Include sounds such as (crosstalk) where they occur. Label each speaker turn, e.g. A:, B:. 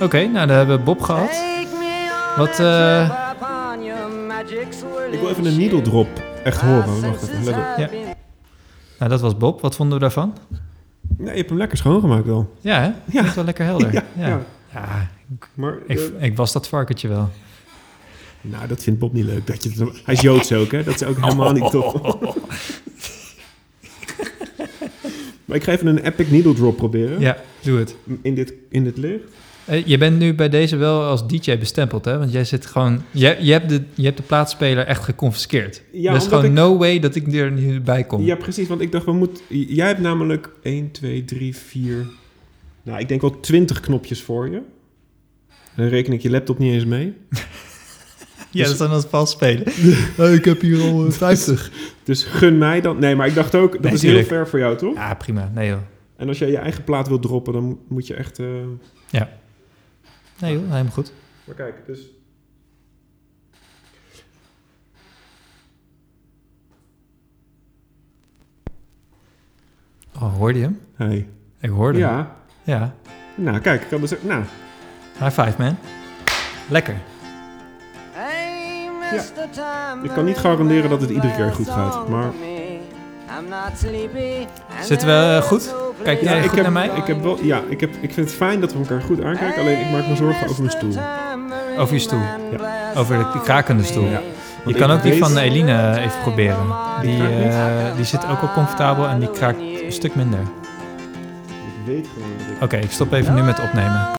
A: Oké, nou, daar hebben we Bob gehad. Wat, eh,
B: Ik wil even een needle drop echt horen. Wacht even, let op.
A: Ja. Nou, dat was Bob. Wat vonden we daarvan?
B: Ja, je hebt hem lekker schoongemaakt wel.
A: Ja, hè? Ja. Klinkt wel lekker helder. Ja, ja.
B: Maar,
A: ik,
B: eh,
A: ik was dat varkentje wel.
B: nou, dat vindt Bob niet leuk. Dat je het- hij is Joods ook, hè? Dat is ook helemaal niet tof.
A: (laughs)
B: maar ik ga even een epic needle drop proberen.
A: Ja, doe het.
B: In, dit, in dit licht.
A: Eh, je bent nu bij deze wel als DJ bestempeld, hè? Want jij zit gewoon... Je, je, hebt, de, je hebt de plaatsspeler echt geconfiskeerd.
B: Ja,
A: er is
B: omdat
A: gewoon
B: ik-
A: no way dat ik er nu bij kom.
B: Ja, precies. Want ik dacht, we moeten... Jij hebt namelijk 1, 2, 3, 4... Nou, ik denk wel 20 knopjes voor je. Dan reken ik je laptop niet eens mee.
A: Dus- Ja, dat zijn als vals spelen. Oh, ik heb hier al eh, 50.
B: Dus gun mij dan... Nee, maar ik dacht ook, dat
A: Nee,
B: is
A: tuurlijk.
B: heel ver voor jou, toch?
A: Ja, prima. Nee joh.
B: En als jij je eigen plaat wilt droppen, dan mo- moet je echt... eh,
A: Nee joh, helemaal goed.
B: Maar kijk, dus...
A: Oh, hoorde je hem?
B: Hey.
A: Ik hoorde hem.
B: Ja.
A: Ja.
B: Nou, kijk, ik kan dus... Nou,
A: High five, man. Lekker.
B: ik kan niet garanderen dat het iedere keer goed gaat, maar...
A: Zitten we eh, goed? Kijk jij
B: ik,
A: goed
B: heb,
A: naar mij?
B: ik heb wel... Ja, ik, heb, ik vind het fijn dat we elkaar goed aankijken, alleen ik maak me zorgen over mijn stoel.
A: Over je stoel. Over de, die krakende stoel.
B: Ja.
A: Je
B: Want
A: kan
B: ik
A: ook die
B: weet-
A: van Eline even proberen. Die, eh, die zit ook wel comfortabel en die kraakt een stuk minder.
B: Ik weet gewoon dat ik...
A: Oké, ik stop even nu met opnemen.